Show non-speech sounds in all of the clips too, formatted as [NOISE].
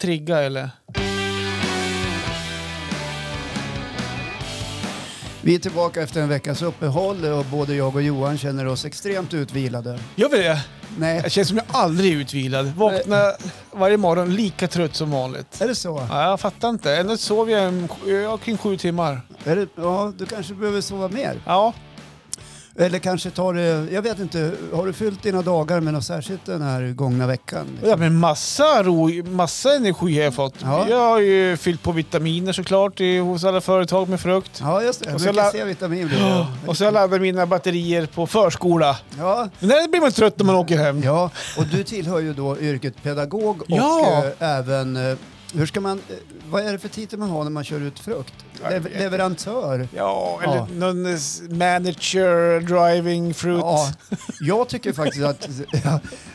trigga eller? Vi är tillbaka efter en veckas uppehåll och både jag och Johan känner oss extremt utvilade. Gör vi det? Nej, Jag känner som jag aldrig är utvilad. Vaknar varje morgon lika trött som vanligt. är det så? Ja, jag fattar inte. Ändå sover jag en, ja, kring sju timmar. Är det, ja, du kanske behöver sova mer. Ja, Eller kanske tar det, jag vet inte, har du fyllt dina dagar med något särskilt den här gångna veckan? ja men massa, ro, massa energi har jag fått. Ja. Jag har ju fyllt på vitaminer såklart i, hos alla företag med frukt. Ja, just det. Jag Och så brukar la- se vitamin. blir det. Och så har jag laddat mina batterier på förskola. Ja, Men där blir man trött när man åker hem. ja, och du tillhör ju då yrket pedagog och Ja. eh, även, eh, hur ska man, eh, vad är det för titel man har när man kör ut frukt? Jag Lev- vet inte. leverantör? Ja, eller Ja. någon eh, manager driving fruit. Ja, jag tycker faktiskt att,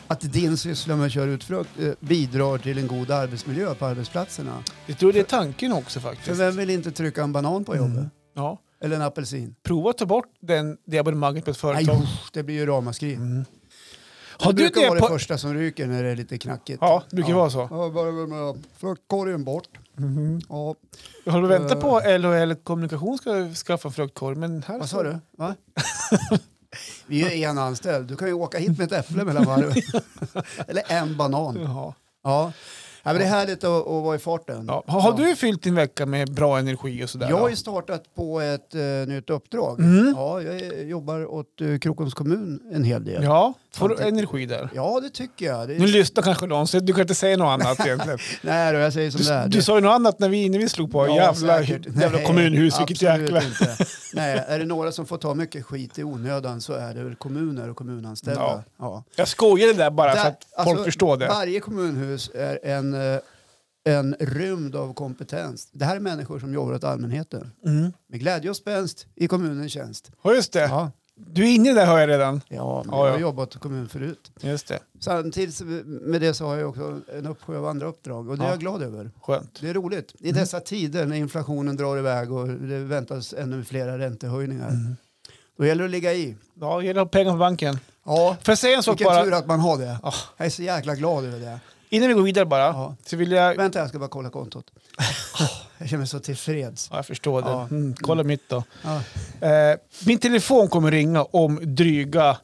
att [LAUGHS] din syssla med att köra ut frukt eh, bidrar till en god arbetsmiljö på arbetsplatserna. Jag tror det är tanken också faktiskt. För vem vill inte trycka en banan på Mm. jobbet? Ja. Eller en apelsin? Prova att ta bort den, det abonnemanget på ett Nej, företag. usch, det blir ju ramaskri. Mm. Har det du brukar det vara på... det första som ryker när det är lite knackigt. Ja, det brukar ja. vara så. Mm-hmm. Ja, bara med fruktkorgen bort. Ja. Har du väntat Eh. på LHL Kommunikation ska skaffa en fruktkorg? Men här Vad sa du? Va? [LAUGHS] Vi är ju en anställd. Du kan ju åka hit med ett äpple [LAUGHS] mellan varven. Eller en banan. Jaha. Ja. Ja, men det är härligt att, att vara i farten. Ja. Har, har du fyllt din vecka med bra energi och sådär? Jag har då? ju startat på ett eh, nytt uppdrag. Mm. Ja, jag eh, jobbar åt eh, Krokoms kommun en hel del. Ja, ja. Får du energi där? det tycker jag. Det Nu lyssnar kanske någon, så du kan inte säga något annat [LAUGHS] egentligen. Nej då, jag säger som det är. Du, Det- du sa ju något annat när vi, när vi slog på. Ja, jävla säkert. jävla Nej, kommunhus, vilket absolut jäkla... [LAUGHS] inte. Nej, är det några som får ta mycket skit i onödan så är det väl kommuner och kommunanställda. Ja. Ja. Jag skojade där bara för Där- alltså, att folk förstår det. Varje kommunhus är en, eh, en rymd av kompetens. Det här är människor som jobbar åt allmänheten. Mm. Med glädje och spänst i kommunens tjänst. Ja, just det. Ja, Du är inne där hör jag redan. ja, men Eh. Ja, jag ja. har jobbat i kommun förut. Just det. Samtidigt med det så har jag också en uppsjö av andra uppdrag och det Ja. Mm. är jag glad över. Skönt. Det är roligt. I dessa tider när inflationen drar iväg och det väntas ännu flera räntehöjningar. Mm. Då gäller det att ligga i. Ja, det gäller att ha pengar på banken. Ja, Får jag säga en sak vilken tur bara? Ah. att man har det. Ja. Jag är så jäkla glad över det. Innan vi går vidare bara. Ja. Så vill jag... Vänta, jag ska bara [LAUGHS] kolla kontot. Åh, Jag känner mig så tillfreds. Ah. Ja, jag förstår det. Ja. Mm, kolla mitt då. Ja. Eh, min telefon kommer ringa om dryga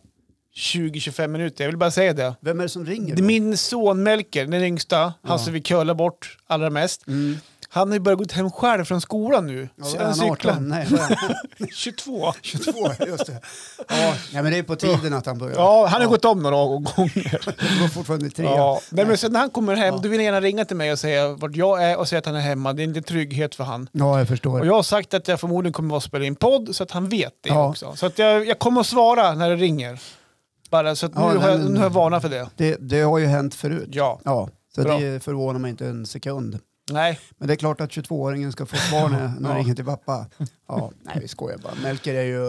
20-25 minuter. Jag vill bara säga det. Vem är det som ringer? Det är då? Min son Melker, den yngsta, han Ja. som vi curlar bort allra mest. Mm. Han har ju börjat gå hem själv från skolan nu. Ja, Så vad är [LAUGHS] han, 18? Nej, vad är han? 22. 22, just det. Ja, nej, men det är på tiden att han börjar. Ja, han har gått om några gånger. [LAUGHS] Det går fortfarande i trean. Ja. Nej, men sen när han kommer hem, Ja. då vill han gärna ringa till mig och säga vart jag är och säga att han är hemma. Det är inte trygghet för han. ja, jag förstår. Och jag har sagt att jag förmodligen kommer att spela in podd så att han vet det Ja. också. Så att jag, jag kommer att svara när det ringer. Bara så att nu, Ja, nej, har jag, men- nu har jag varnat för det. Det, det har ju hänt förut. Ja, Ja, så Bra. det förvånar mig inte en sekund. nej. Men det är klart att 22-åringen ska få svar när, när Ja. det ringer till pappa. Ja, nej vi skojar bara. Melker är ju...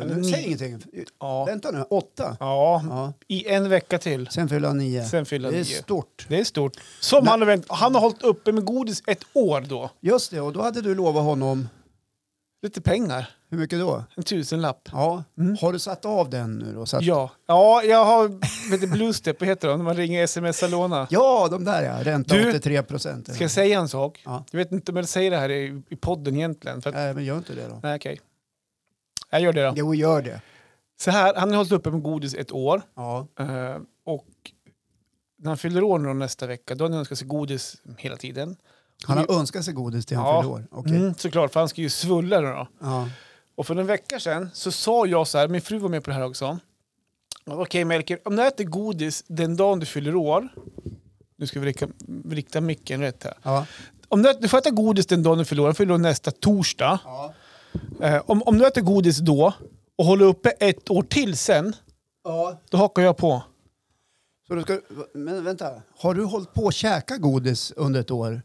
är Nu, nio. säg ingenting. Ja. Vänta nu, åtta. ja, Ja. i en vecka till. Sen fyller han nio. Sen fyller han det är nio. stort. Det är stort. Som Nej. han, har vänt, han har hållit uppe med godis ett år då. Just det, och då hade du lovat honom, Lite pengar. hur mycket då? En tusenlapp. Ja, har du satt av den nu då? Satt... Mm. Ja. ja, jag har... Vet du, Bluestep, vad heter det? När man ringer smsar låna. ja, de där ja. Ränta Du- 83 procent. Ska jag säga en sak? Ja. Jag vet inte om jag säger det här i, i podden egentligen. För att, Nej, men gör inte det då. Nej, okej. Jag gör det då. Jo, gör det. Så här, han har hållit uppe med godis ett år. Ja, Eh, och när han fyller år nu nästa vecka, då har han önskat sig godis hela tiden. han har önskat sig godis till han Ja. fyller år. Okej. Mm, såklart, för han ska ju svulla nu då. Ja. Och för en vecka sedan så sa jag så här, min fru var med på det här också. Okej Melker, om du äter godis den dagen du fyller år, nu ska vi rikta, rikta micken rätt här. Ja. Om du, äter- du får äta godis den dagen du fyller år, jag fyller år nästa torsdag. Ja. Eh, om, om du äter godis då och håller uppe ett år till sen, ja. då hakar jag på. Så du ska, men vänta, har du hållit på att käka godis under ett år?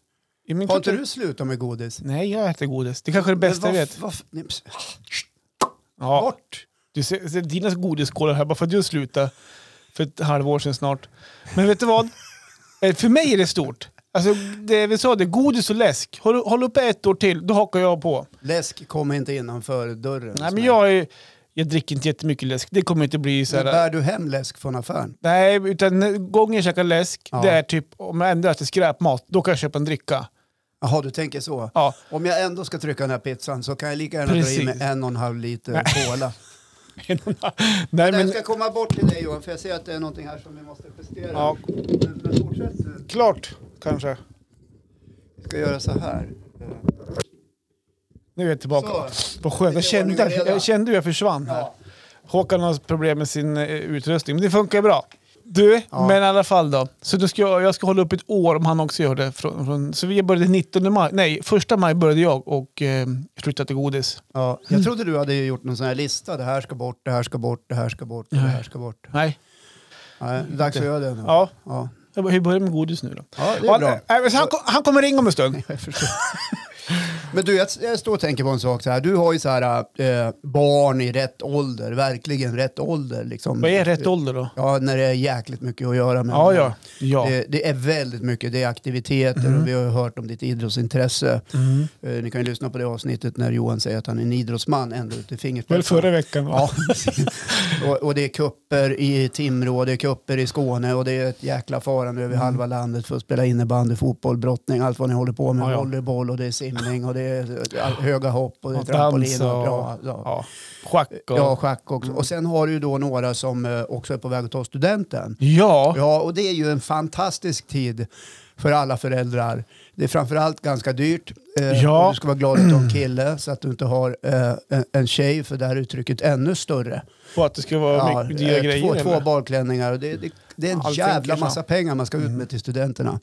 I min Har kultur- inte du slutat med godis? Nej, jag äter godis. Det kanske är det bästa jag Men vet. varf- varf- nej, ps- Ja. Bort! Du ser, ser dina godisskålar här bara för att du slutade för ett halvår sedan snart. Men vet du [LAUGHS] vad? Eh, För mig är det stort. Alltså, det vi sa, det godis och läsk. Håll, håll uppe ett år till, då hakar jag på. Läsk kommer inte innanför dörren. Nej, men jag är, jag dricker inte jättemycket läsk. Det kommer inte bli så här... Bär du hem läsk från affären? Nej, utan gången jag käkar läsk, Ja. det är typ om jag ändå äter skräpmat, då kan jag köpa en dricka. Jaha, du tänker så. Ja, [LAUGHS] Om jag ändå ska trycka den här pizzan så kan jag lika gärna dra in Precis. med en och en halv liter cola. nej Jag men ska komma bort till dig Johan, för jag ser att det är någonting här som vi måste justera. Ja. Men, men fortsätt nu. klart kanske. Vi ska göra så här. Nu är jag tillbaka Så. på sjön. Det är Jag kände, ordning och reda. jag kände hur jag försvann här. Ja. Håkan har problem med sin eh, utrustning, men det funkar bra. Du, Ja. men i alla fall då. Så då ska jag, jag ska hålla upp ett år om han också gör det. Från, från, så vi började 19 maj. Nej, 1 maj började jag och eh, slutade till godis. Ja, jag trodde du hade ju gjort någon sån här lista. Det här ska bort, det här ska bort, det här ska bort, det här ska bort. Nej. Nej, det är dags att göra det nu. Ja, Ja. jag bara, vi börjar med godis nu då. Ja, det är bra. [LAUGHS] Mm. Han, eh, men så han, kom- han kommer ringa om en stund. Jag förstår. Men du, jag, jag står och tänker på en sak så här. Du har ju så här eh, barn i rätt ålder, verkligen rätt ålder. Liksom. Vad är rätt ålder då? Ja, när det är jäkligt mycket att göra med. Ja, ja. ja. Mm. Det, det är väldigt mycket, det är aktiviteter och vi har ju hört om ditt idrottsintresse. Eh, ni kan ju lyssna på det avsnittet när Johan säger att han är en idrottsman ända ut i Väl fingerspetsarna. förra veckan? va? Ja, precis. och, och det är kupper i Timrå, och det är kupper i Skåne och det är ett jäkla farande Mm. över halva landet för att spela innebandy, fotboll, brottning, allt vad ni håller på med. Ja, ja. Volleyboll och det är simning och det är all- höga hopp och det är Och dans trampolin. och... Och, ja, ja. Ja. Schack och... Mm. ja, Ja. schack också. Och sen har du ju då några som eh, också är på väg att ta studenten. Ja, och det är ju en fantastisk tid för alla föräldrar. Det är framförallt ganska dyrt. Eh, Ja. och Du ska vara glad att du har en kille så att du inte har eh, en, en tjej för där är uttrycket ännu större. Och att det ska vara Ja, mycket dyra eh, grejer. två, två eller? badklänningar. Och det, det, det är en Allting liksom. Mm. jävla kanske. massa pengar man ska ut med till studenterna.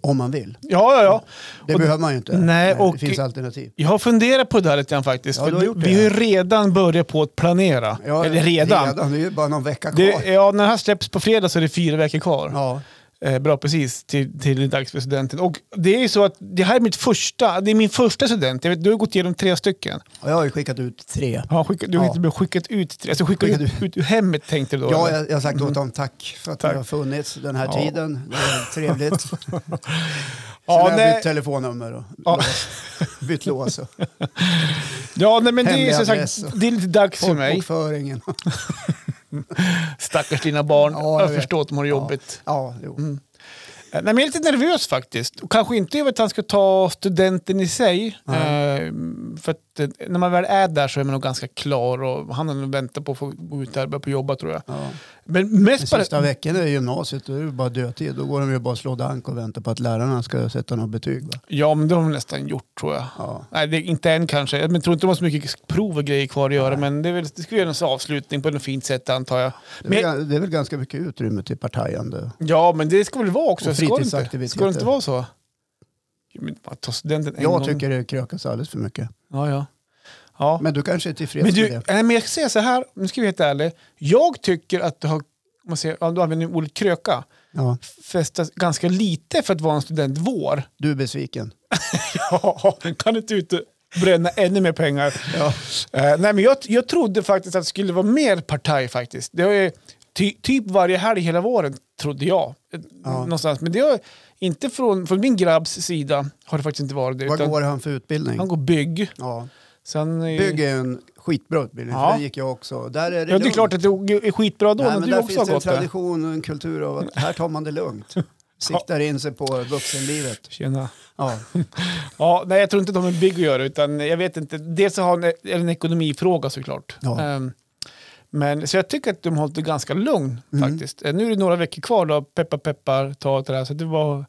Om man vill. Ja, ja, ja. Det Och- behöver man ju inte. Nej, Men och- det finns alternativ. Jag har funderat på det här lite grann faktiskt. Ja, för du har gjort vi det. har ju redan börjat på att planera. Ja, eller redan. Det är ju bara någon vecka kvar. Det, ja, när det här släpps på fredag så är det fyra veckor kvar. Ja. Eh, bra precis, till, till dags för studenten. Och det är ju så att det här är mitt första, det är min första student. Jag vet, du har gått igenom tre stycken. Och jag har ju skickat ut tre. Ja, skicka, du har Ja. inte skickat ut tre, alltså skickat Skickat ut, ut ur hemmet tänkte du då? Ja, eller? jag, jag har sagt åt dem tack för att ni Mm. Tack. har funnits den här Ja. tiden. Det är [LAUGHS] trevligt. Sen ja, har jag bytt nej, telefonnummer och Ja. lås. [LAUGHS] bytt lås. och ja, nej, men det är hemlig som adress och- sagt, det är lite dags för mig. Folkbokföringen. Stackars dina barn, Ja, jag jag, vet. förstår att de har det jobbigt. Ja, jo. Eh, Nej, men jag är lite nervös faktiskt. Och kanske inte över att han ska ta studenten i sig. Eh, för att eh, när man väl är där så är man nog ganska klar och han har nog väntat på att få gå ut där och börja på jobba tror jag. Ja. Men Men mest bara... Sista veckan är gymnasiet, då är det bara dödtid. Då går de ju bara och slår dank och väntar på att lärarna ska sätta något betyg. Va? Ja, men det har de nästan gjort tror jag. Ja. Nej, det, inte än kanske. Jag men, tror inte de har så mycket prov och grejer kvar att göra, men det, är väl, det ska göras en avslutning på något fint sätt antar jag. Det, är Men, väl, det är väl ganska mycket utrymme till partajande. ja, men det ska väl vara också. Och Ska det inte, fritidsaktiviteter. ska det inte vara så? Ja, Men, bara ta studenten en gång. Jag tycker det krökas alldeles för mycket. Ja, ja. ja. Men du kanske är tillfreds Men, du, med nej, men jag ska säga så här, nu ska vi vara helt ärlig. Jag tycker att det har, om man säger, ja, du använder ordet kröka, det? Ja. festas ganska lite för att vara en student vår. Du är besviken. [LAUGHS] Ja, kan inte ut och bränna ännu mer pengar. Eh, nej, men jag, jag trodde faktiskt att det skulle vara mer partaj faktiskt. Det har ju, ty, typ varje helg hela våren trodde jag. Eh, Någonstans. Men det har inte från, från min grabbs sida har det faktiskt inte varit det. Vad utan går han för utbildning? Han går bygg. Ja. Sen, eh, Bygg är en skitbra utbildning, för Ja. där gick jag också. Där är det Ja, det är lugnt. klart att det är skitbra då, Nej, när men du där också har finns det en gått där. tradition och en kultur av att här tar man [LAUGHS] det lugnt. Siktar in sig på vuxenlivet. Tjena. Ja. Ja, nej, jag tror inte att de har med bygg att göra. Utan jag vet inte. Dels så har en, är det en ekonomifråga såklart. Ja. Ehm, men, så jag tycker att de har hållit det ganska lugn faktiskt. Eh, Nu är det några veckor kvar då, peppar peppar, ta och det här. Så det var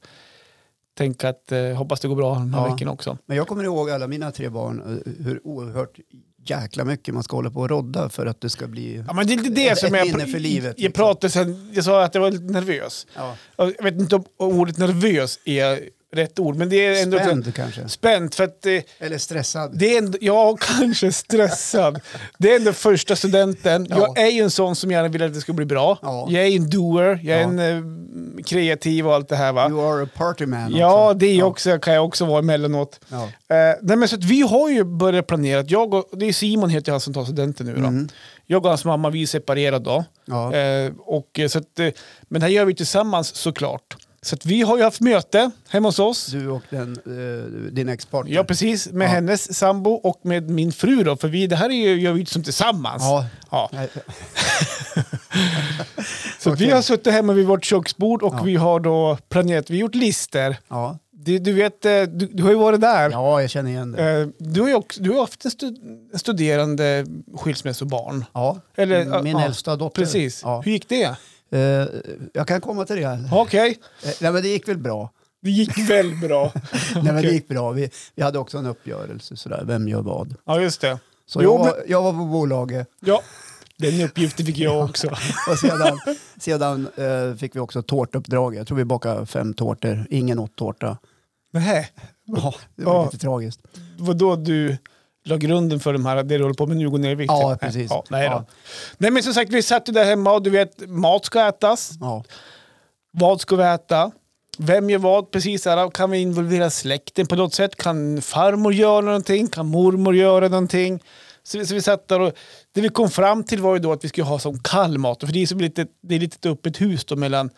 tänka att eh, hoppas det går bra den här Ja. veckan också. Men jag kommer ihåg alla mina tre barn, eh, hur oerhört jäkla mycket man ska hålla på och rodda för att det ska bli... Ja, men det är inte det Ett- som ett jag, minne för livet, jag liksom. pratade sen, jag sa att jag var lite nervös. Ja. Och Jag vet inte om ordet nervös är rätt ord, men det är ändå... Spänd kanske, Spänt, för att... Eh, eller stressad. Det är ändå, ja, [LAUGHS] kanske stressad. Det är ändå första studenten. Ja. Jag är ju en sån som gärna vill att det ska bli bra. Ja. Jag är ju en doer, jag är Ja. en eh, kreativ och allt det här. Va? You are a party man Ja, också. det är jag också, kan jag också vara emellanåt. Ja. Eh, nej, men så att vi har ju börjat planera. att Jag och, det är Simon heter han som tar studenten nu. Då. Jag och hans mamma, vi är separerade då. Mm. Ja. Eh, och, eh, så att, eh, men det här gör vi tillsammans såklart. Så att vi har ju haft möte hemma hos oss. Du och den, eh, din ex-partner. Ja, precis. Med Ja. hennes sambo och med min fru då. För vi, det här är ju, gör vi ju som tillsammans. Ja. Ja. Nej, Så okej. vi har suttit hemma vid vårt köksbord och Ja. vi har då planerat, vi har gjort listor. ja. Du, du vet, eh, du, du har ju varit där. ja, jag känner igen det. Eh, Du har ju också, du har haft en stud- en studerande skilsmässobarn. Ja, Eller, min ja, äldsta dotter. Precis. Ja. Hur gick det? Eh, jag kan komma till det. här. Okej, Eh, Nej, men det gick väl bra. det gick väl [LAUGHS] bra. Nej, men det Okej. gick bra. Vi, vi hade också en uppgörelse, sådär, vem gör vad. Ja, just det. Så Jo, jag, var, jag var på bolaget Ja, den uppgiften fick jag [LAUGHS] också. och sedan, sedan eh, fick vi också tårtuppdrag. Jag tror vi bakade fem tårtor, ingen åt tårta. Nej, Ja, det var Ja. lite tragiskt. vadå du la grunden för de här, det du håller på med nu, går ner i vikt? Ja, Nej, precis. Ja, nej, då. Ja. nej, men som sagt, vi satt ju där hemma och du vet, mat ska ätas. Ja. Vad ska vi äta? Vem gör vad? Precis här. Kan vi involvera släkten på något sätt? Kan farmor göra någonting? Kan mormor göra någonting? Så, vi- så vi satt där och det vi kom fram till var ju då att vi skulle ha som kall mat. För det är, som lite, det är lite ett öppet hus då mellan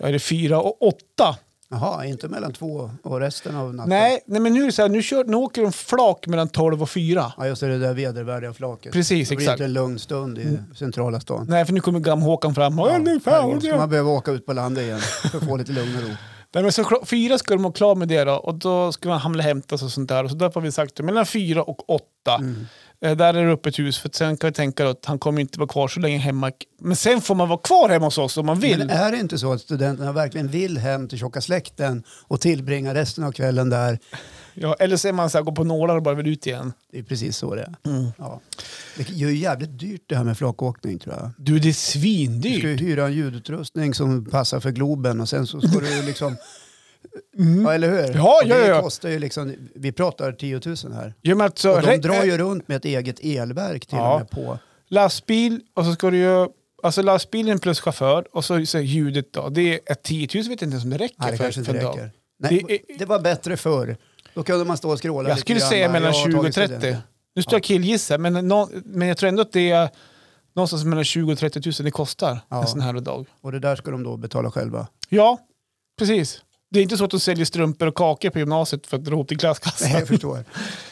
ja, är det fyra och åtta. Jaha, inte mellan två och resten av natten? Nej, nej, men nu är det så här, nu, kör, nu åker de flak mellan tolv och fyra. Ja, just det, det där vedervärdiga flaket. Precis, det blir exakt. Mm. inte en lugn stund i centrala stan. Nej, för nu kommer Gam-Håkan fram. Och, ja, nu, fan, herregud, ska man behöva åka ut på landet igen för att få lite lugn och ro. Nej, men så kl- fyra ska de vara klara med det då, och då ska man hamna och hämtas och sånt där. Och så därför har vi sagt mellan fyra och åtta. Mm. Eh, där är det öppet hus, för sen kan vi tänka då att han kommer inte vara kvar så länge hemma. Men sen får man vara kvar hemma hos oss om man vill. Men är det inte så att studenterna verkligen vill hem till tjocka släkten och tillbringa resten av kvällen där? ja, eller så är man så här, går på nålar och bara vill ut igen. Det är precis så det är. Mm. Ja. Det är ju jävligt dyrt det här med flakåkning tror jag. Du, det är Du ska svindyrt. ju hyra en ljudutrustning som passar för Globen och sen [LAUGHS] så ska du ju liksom... Ja, eller hur? Mm. Ja, Och det ja, ja. kostar ju liksom... Vi pratar 10 000 här. Ja, men alltså, Och de re- drar ju runt med ett eget elverk till Ja. och med på. Lastbil, och så ska du ju... Alltså lastbilen plus chaufför och så, så är ljudet då. Det är ett 10 000 vet jag inte ens om det räcker. Nej, det för- kanske inte för en dag. räcker. Nej, Det det, är- var bättre förr. Då kunde man stå och skråla Jag lite skulle grann säga bara, mellan "Jag har 20 och tagit 30. studenten." Nu står jag och killgissar, men, nå- men jag tror ändå att det är någonstans mellan 20 och 30 000 det kostar Ja. en sån här dag. Och det där ska de då betala själva. [LAUGHS] Ja, precis. Det är inte så att de säljer strumpor och kakor på gymnasiet för att dra ihop till Nej, klasskassan. jag förstår.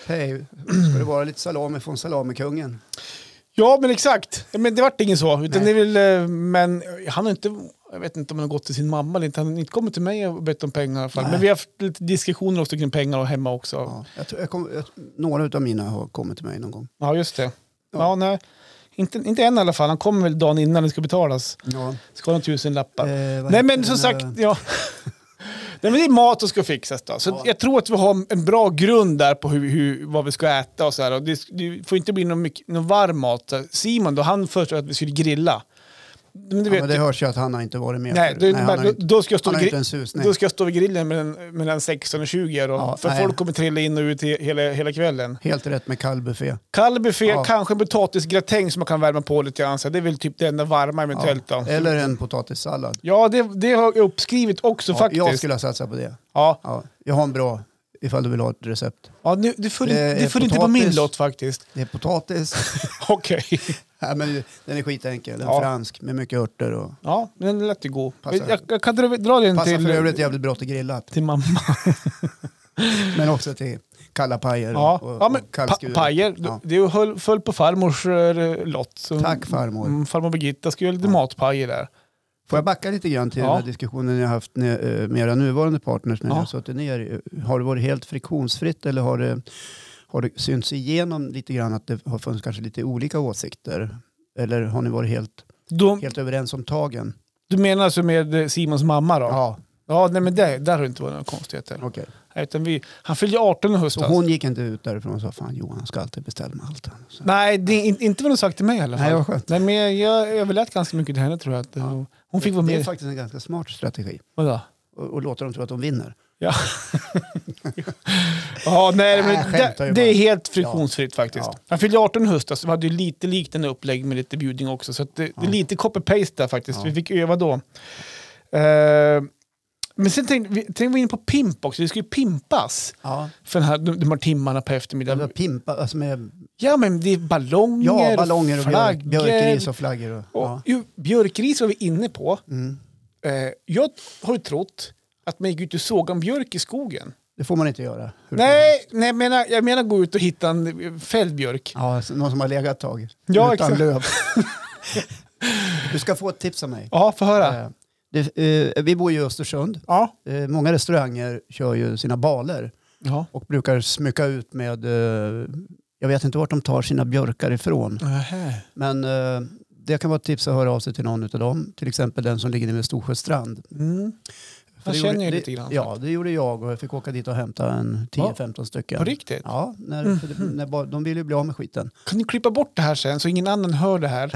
Hej, ska det vara lite salami från salamikungen? Ja, men exakt. Ja, Men det vart ingen så. Utan det Nej. är väl, eh, men han har inte, jag vet inte om han har gått till sin mamma eller inte. Han har inte kommit till mig och bett om pengar i alla fall. Nej. Men vi har haft lite diskussioner också kring pengar och hemma också. Ja, Ja, jag tror, jag kom, jag, några av mina har kommit till mig någon gång. just det. Ja, Ja. nej. Inte, inte än i alla fall. Han kommer väl dagen innan det ska betalas. Ja. Ska ha några tusen lappar. Eh, vad Nej heter men den som där- sagt, ja. [LAUGHS] Nej, men det är mat som ska fixas då. Så Ja. jag tror att vi har en bra grund där på hur, hur, vad vi ska äta och så här. Och det, det får inte bli någon, mycket, någon varm mat. Simon då, han föreslog att vi skulle grilla. Men du Ja, vet, men det hörs ju att han har inte varit med nej, förut. då, nej, han, har då, inte, då, ska jag stå han vid har inte gri- en susning. då ska jag stå vid grillen mellan, mellan 16 och 20 då. Ja, för nej. folk kommer trilla in och ut he- hela, hela kvällen. Helt rätt med kall buffé. Kall buffé, Ja. kanske en potatisgratäng som man kan värma på lite grann. Så Det är väl typ det enda varma Ja. eventuellt då. Eller en potatissallad. Ja, det, det har jag uppskrivit också Ja, faktiskt. Jag skulle ha satsat på det. Ja. Ja, jag har en bra, ifall du vill ha ett recept. Ja, nu, det föll, Det det är föll inte på min Eh, potatis. lott faktiskt. [LAUGHS] Det är potatis. Okej. Nej, men den är skitenkel. En Ja. fransk med mycket örter. Och... Ja, den lät ju god. Passar. Jag, jag kan dra, dra den Passar för till, övrigt jävligt bra till grillat. till mamma. Men också till kalla pajer Ja, och, och, ja men pa, kallskuret. pajer. Ja. Det höll, föll på farmors eh, lott. Så Tack farmor. mm, farmor Birgitta ska göra lite Ja. matpajer där. Får jag backa lite grann till Ja. den här diskussionen ni har haft med, eh, med era nuvarande partners när ni Ja. har suttit ner. Har det varit helt friktionsfritt eller har det, har det synts igenom lite grann att det har funnits kanske lite olika åsikter? Eller har ni varit helt, Du, helt överens om tagen? du menar alltså med eh, Simons mamma då? Ja, Ja, nej, men det, där har det inte varit några konstigheter. okej. Nej, Utan vi, han fyllde 18 i Så höstas. hon gick inte ut därifrån och sa fan Johan han ska alltid bestämma allt. han." Så. Nej, det, är in, inte vad hon sagt till mig i alla fall. Nej, vad skönt. Nej, men jag, jag överlät ganska mycket till henne tror jag. Att, eh, Ja. Hon fick vara Det är med. faktiskt en ganska smart strategi. Vadå? Och, och låta dem tro att de vinner. Ja, [LAUGHS] ja nej, Nej, men jag det, skämtar ju det är bara. helt friktionsfritt faktiskt. Ja. Han fyllde 18 i höstas, så vi hade ju lite liknande upplägg med lite bjudning också. Så att det, det är lite copy-paste där faktiskt. Ja. Vi fick öva då. Eh, men sen tänkte vi, tänkte vi in på pimp också. Det ska ju pimpas Ja. för den här, de, de här timmarna på Eller eftermiddagen. pimpa, alltså med Ja, men det är ballonger, ja, ballonger och björk, flaggor. björkris och flaggor. Och, Och, ja. ju, björkris var vi inne på. Mm. Eh, jag har ju trott att man gick ut och såg en björk i skogen. Det får man inte göra. hur som Nej, helst. nej jag, menar, jag menar gå ut och hitta en eh, fälld björk. Ja, alltså, någon som har legat ett tag. Ja, utan exakt. [LAUGHS] löv. du ska få ett tips av mig. Ja, få höra. Eh, Det, eh, vi bor ju i Östersund. Ja. Eh, många restauranger kör ju sina baler ja. och brukar smycka ut med, eh, jag vet inte vart de tar sina björkar ifrån. Men eh, det kan vara ett tips att höra av sig till någon av dem. Till exempel den som ligger nere vid Storsjöstrand. Mm. För Man det känner ju det- lite grann. Ja, det gjorde jag och jag fick åka dit och hämta en 10-15 stycken. På riktigt? Mm. Ja, när, för det, när, bara- de ville ju bli av med skiten. Kan ni klippa bort det här sen så ingen annan hör det här?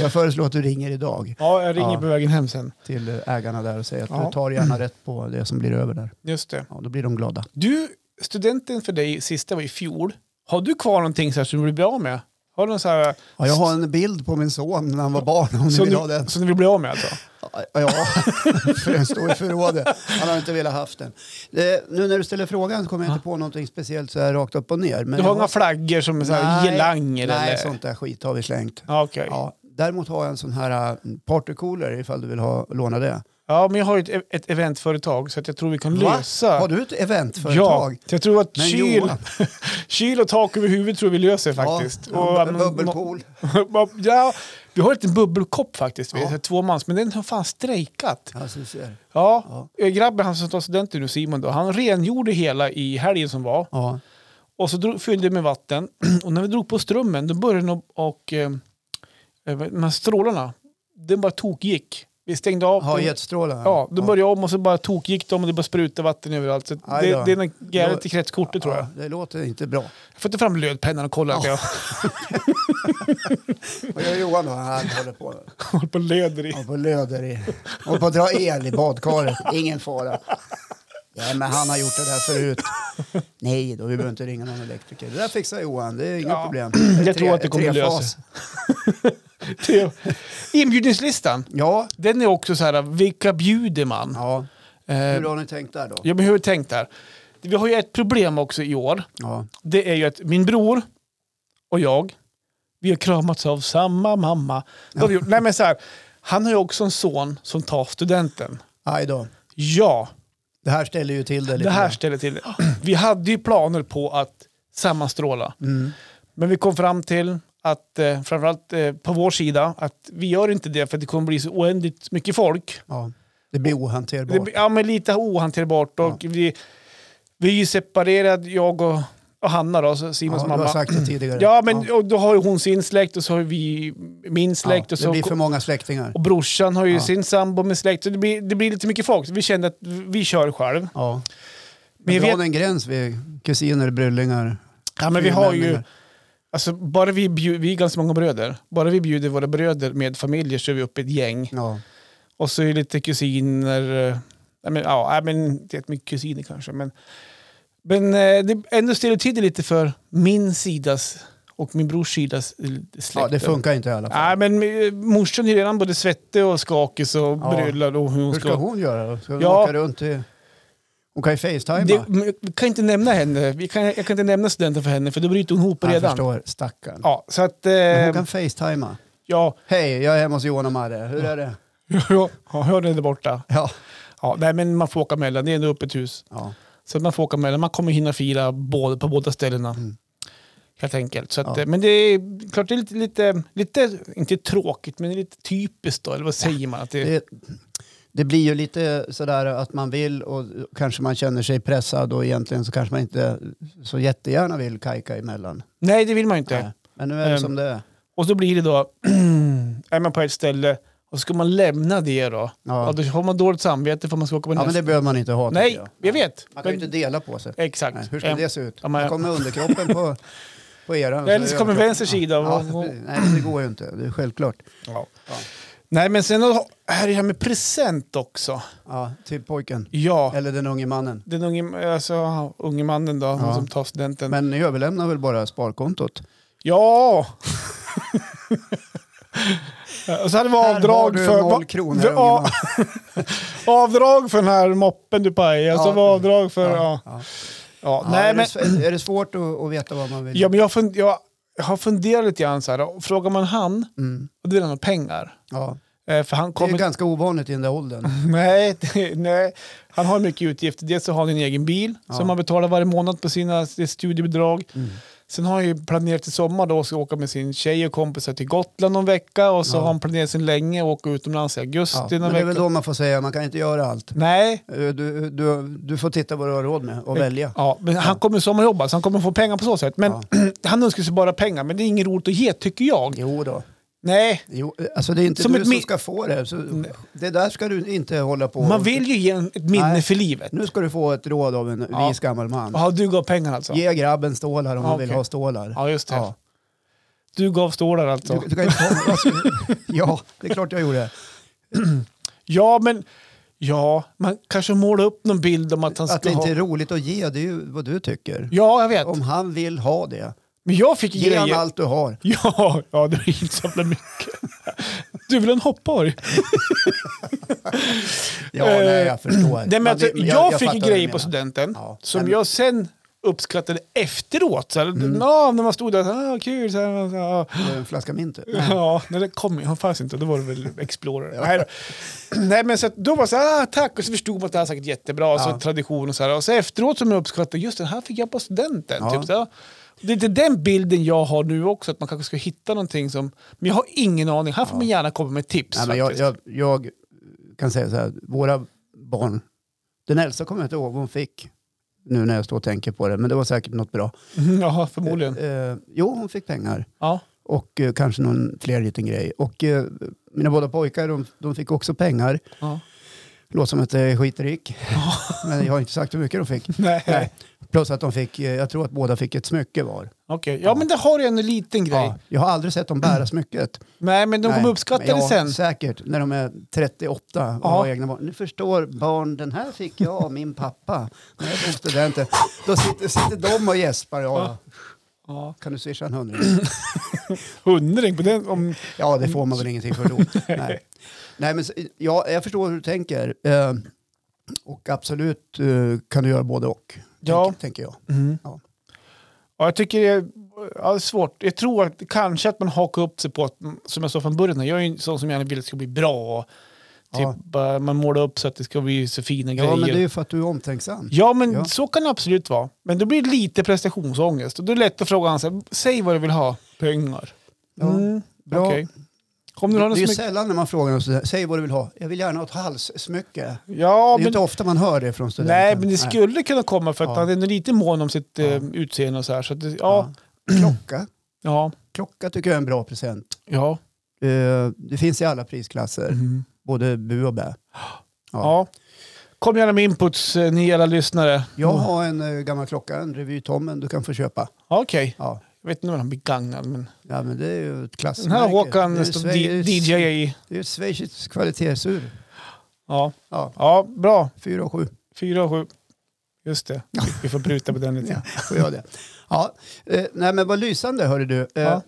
Jag föreslår att du ringer idag Ja, jag ringer Ja. på vägen hem sen. till ägarna där och säger att Ja. du tar gärna rätt på det som blir över där. Just det. Ja, då blir de glada. Du, studenten för dig sista var i fjol. Har du kvar någonting så här som du blir bra med? Har du någon så här Ja, jag har en bild på min son när han var barn om ni som vill ha den. du, som du vill bli av med alltså? Ja, [LAUGHS] för den står i förrådet. Han har inte velat haft den. Det, nu när du ställer frågan så kommer jag inte på någonting speciellt så här rakt upp och ner. Men Du jag har några flaggor som är så här gelanger nej, eller? sånt där skit har vi slängt. Ja, okej. Ja. Ja, däremot har jag en sån här äh, partycooler ifall du vill ha, låna det. men jag har ju ett, ett eventföretag så att jag tror vi kan Va? lösa... Har du ett eventföretag? Ja, så jag tror att Men kyl, Johan. [LAUGHS] kyl och tak över huvudet tror jag vi löser faktiskt. Ja, Och, en um, bubbelpool. [LAUGHS] ja, vi har en liten bubbelkopp faktiskt, vi Ja. är så här tvåmans, men den har fan strejkat. Alltså, du ser. Ja, eh, grabben han som tar studenten nu, Simon, då, han rengjorde hela i helgen som var. Ja. Och så drog, fyllde vi med vatten. [CLEARS THROAT] Och när vi drog på strömmen, då började den att- och, eh, de här strålarna, den bara tokgick. Vi stängde av. Har den. jetstrålar? Mm. Ja, då började jag om och så bara tokgick de och det bara sprutade vatten överallt. Så Aj då. det, det är något gärdet Då- i kretskortet tror jag. Ja, det låter inte bra. Jag får ta fram lödpennan och kolla att jag Vad gör Johan då? Han håller på. håller på och löder i. [LAUGHS] Och på löder i... Och på att dra el i badkaret. Ingen fara. Nej, men han har gjort det där förut. Nej då, vi behöver inte ringa någon elektriker. Det där fixar Johan, det är inga Ja. problem. Jag tror att det kommer trefas. lösa sig. Te- Inbjudningslistan, Ja, den är också så här, vilka bjuder man? ja. Eh, Hur har ni tänkt där då? jag behöver tänkt där. Vi har ju ett problem också i år. Ja. Det är ju att min bror och jag, vi har kramats av samma mamma. Det har vi gjort. Nej, men så här, han har ju också en son som tar studenten. Aj då. Ja, Det här ställer ju till det lite. det här grann. ställer till [CLEARS THROAT] det. Vi hade ju planer på att sammanstråla. Mm. Men vi kom fram till att, eh, framförallt eh, på vår sida, att vi gör inte det för att det kommer bli så oändligt mycket folk. Ja. Det blir ohanterbart. Det, blir- ja, men lite ohanterbart. Och vi, vi är ju separerade, jag och, och Hanna, då, så ja, Simons du har mamma. sagt det tidigare. Ja, men Och då har ju hon sin släkt och så har vi min släkt. Ja, och, det så, blir för många släktingar. och brorsan har ju Ja. sin sambo med släkt. Så det blir, det blir lite mycket folk. Så vi kände att vi kör själv. Ja. Men Men jag dra vet- en gräns vid kusiner, bryllingar. Ja, men vi har ju... fyrmänningar. Alltså, bara vi, bjud, vi är ganska många bröder. Bara vi bjuder våra bröder med familjer så är vi uppe ett gäng. Ja. Och så är det lite kusiner. eh, Ja, men, ja, ja, men det är mycket kusiner kanske. Men, men eh, det ändå ställer till det lite för min sidas och min brors sidas eh, släkt. ja, det funkar inte i alla fall. Nej, men eh, morsan är redan både svettig och skakig och bryllar. Och hur hon Hur ska... ska hon göra då? Ska hon Ja. åka runt i... Hon kan ju facetima. det, men jag- vi kan inte nämna henne. Vi kan, jag kan inte nämna studenten för henne för då bryter hon ihop Jag redan. förstår, stackarn. Ja, så att... Men Eh, hon kan facetima. [LAUGHS] ja, Hej, jag är hemma hos Johan och Marre. Hur är det? ja, hör ni där borta? Ja. Ja, nej, men man får åka mellan. Det är ändå öppet hus. ja. Så att man får åka mellan. Man kommer hinna fira både, på båda ställena. Helt enkelt. Så att, Mm. Ja. eh, Men det är klart, det är lite, lite, lite, inte tråkigt, men det är lite typiskt då. Eller vad säger man? Att det, Det, det blir ju lite sådär att man vill och kanske man känner sig pressad och egentligen så kanske man inte så jättegärna vill kajka emellan. nej, det vill man ju inte. Nej. Men nu är det Ehm, som det är. Och så blir det då, [CLEARS THROAT] är man på ett ställe och så ska man lämna det då. Ja. Ja. då har man dåligt samvete för man ska åka på Ja, men nästa. det behöver man inte ha. tycker Nej, jag. jag vet. Man kan ju Men- inte dela på sig. Exakt. Nej, hur ska Eh, det se ut? ja, men- Då kommer underkroppen på, på era. [LAUGHS] Eller så kommer vänster sida. Ja, Ja. nej, det går ju inte. Det är självklart. Ja. Ja. Nej, men sen har- här är det här med present också. Ja, till pojken. Ja, Eller den unge mannen. den unge, alltså, unge mannen då, Ja. han som tar studenten. Men ni överlämnar väl bara sparkontot? Ja! [LAUGHS] och så hade vi Här har avdrag du för... noll kronor, Ja, unge man. avdrag för den här moppen du pajade. Ja. Så var avdrag för... Ja. Ja, Ja. ja. Nej, är, men, det, sv- är det svårt att, att veta vad man vill? Ja, men jag, fund, jag har funderat lite grann så här. Frågar man han, Mm. och då vill han ha pengar. Ja. Eh, För han Det är kommer... ganska ovanligt i den där åldern. Nej, det, nej, han har mycket utgifter. Dels så har han en egen bil som han betalar varje månad på sina sitt studiebidrag. Mm. Sen har han ju planerat till sommar då ska åka med sin tjej och kompisar till Gotland någon vecka och så har han planerat sen länge att åka utomlands i Ja. augusti Men någon det är vecka. väl då man får säga, man kan inte göra allt. Nej, Eh, Du, du, du får titta vad du har råd med och välja. ja, men han kommer sommarjobba så han kommer få pengar på så sätt. Men [CLEARS THROAT] han önskar sig bara pengar, men det är inget roligt att ge tycker jag. Jo då. Nej, Jo, alltså det är inte Som du ett som mi- Mm. ska få det. Så det där ska du inte hålla på man vill ju ge en- ett minne Nej. för livet. Nu ska du få ett råd av en Ja. vis gammal man. Ja, du gav pengar alltså? Ge grabben stålar om Ja, han vill okej. ha stålar. Ja, just det. Ja. Du gav stålar alltså? Du, du kan inte [LAUGHS] ta, alltså, ja, det är klart jag gjorde. Ja, men ja, man kanske målar upp någon bild om att han ska Att det inte ha... är roligt att ge, det är ju vad du tycker. Ja, jag vet. Om han vill ha det, Men jag fick ge han grejer. allt du har. Ja, ja, det är inte så jävla mycket. [LAUGHS] Du vill ha en hoppborg? Ja, Eh, nej, jag förstår. Nej, men Man alltså, vill- jag, fick fattar ju vad du grejer menar. på studenten Ja, som men- Mm. jag sen uppskattade efteråt. Så här, ja, när man stod där, så här, ah, kul. Så här, så här, Det är En flaska mint. Ja, nej, det kom ju. Han fanns inte. Då var det väl Explorer. Nej, då. nej men så att, då var det så här, ah, tack. Och så förstod man att det här är säkert jättebra. Och så Ja. tradition och så här. Och så efteråt som jag uppskattade, just den här fick jag på studenten. Ja. Typ, så. här. Det är inte den bilden jag har nu också, att man kanske ska hitta någonting som... Men jag har ingen aning. Här får man gärna komma med tips. Nej, men jag, faktiskt. jag, jag kan säga så här, våra barn, den äldsta kommer jag inte ihåg vad hon fick nu när jag står och tänker på det, men det var säkert något bra. [LAUGHS] Ja, förmodligen. Eh, jo, hon fick pengar Ja. och eh, kanske någon fler liten grej. Och eh, mina båda pojkar, de, de fick också pengar. ja. Låter som att jag är skitrik, [LAUGHS] men jag har inte sagt hur mycket de fick. Nej, okej. Nej. Plus att de fick, eh, jag tror att båda fick ett smycke var. Ja, men det har ju en liten grej. Ja, jag har aldrig sett dem bära smycket. Nej, men de Nej, kommer uppskatta men det ja, sen. Säkert, när de är 38 och Ja. har egna barn. Nu förstår barn, den här fick jag av min pappa när jag tog studenten. Då sitter, sitter de och gäspar. Ja, Ja. Kan du swisha en hundring? Hundring på den. Om, Ja, det får man väl ingenting för då. Nej. Nej, men, så- ja, jag förstår hur du tänker. Eh, och absolut eh, kan du göra både och, Ja. Mm. tänker, tänker jag. Ja. Ja, jag tycker det är, ja, det är svårt. Jag tror att kanske att man hakar upp sig på, att, som jag sa från början, jag är ju en sån som gärna vill att det ska bli bra. Och, Ja. typ, eh, man målar upp så att det ska bli så fina ja, grejer. men det är ju för att du är omtänksam. Ja, men Ja. så kan det absolut vara. Men då blir det lite prestationsångest. Och då är det lätt att fråga han så här, säg vad du vill ha. Pengar. Mm, Ja, bra. okej. Om Det du har är något ju som är... sällan när man frågar någon, så här, säg vad du vill ha. Jag vill gärna ha ett halssmycke. Ja, det är men... inte ofta man hör det från studenten. Nej, men det skulle kunna komma för att Ja. han är nog lite mån om sitt eh, Ja. utseende och så här. Så att det, ja, Ja. Klocka. ja, Klocka tycker jag är en bra present. ja. Eh, det finns i alla prisklasser, Mm. både bu och bä. ja. Kom gärna med inputs, eh, ni alla lyssnare. Mm. Jag har en eh, gammal klocka, en revytommen du kan få köpa. Okej, Ja. jag vet inte om han blir gagnad men... Ja, men det är ju ett Den klassmärke. här Det Håkan är står di- sve- DJ i. Det är ett schweiziskt kvalitetsur. Ja. Ja, ja, bra. 4 och 7. Fyra och sju. Just [LAUGHS] det, vi får pruta på den lite. Ja, får jag det. Ja. Eh, nej, men vad lysande, hörru du. Eh, Ja.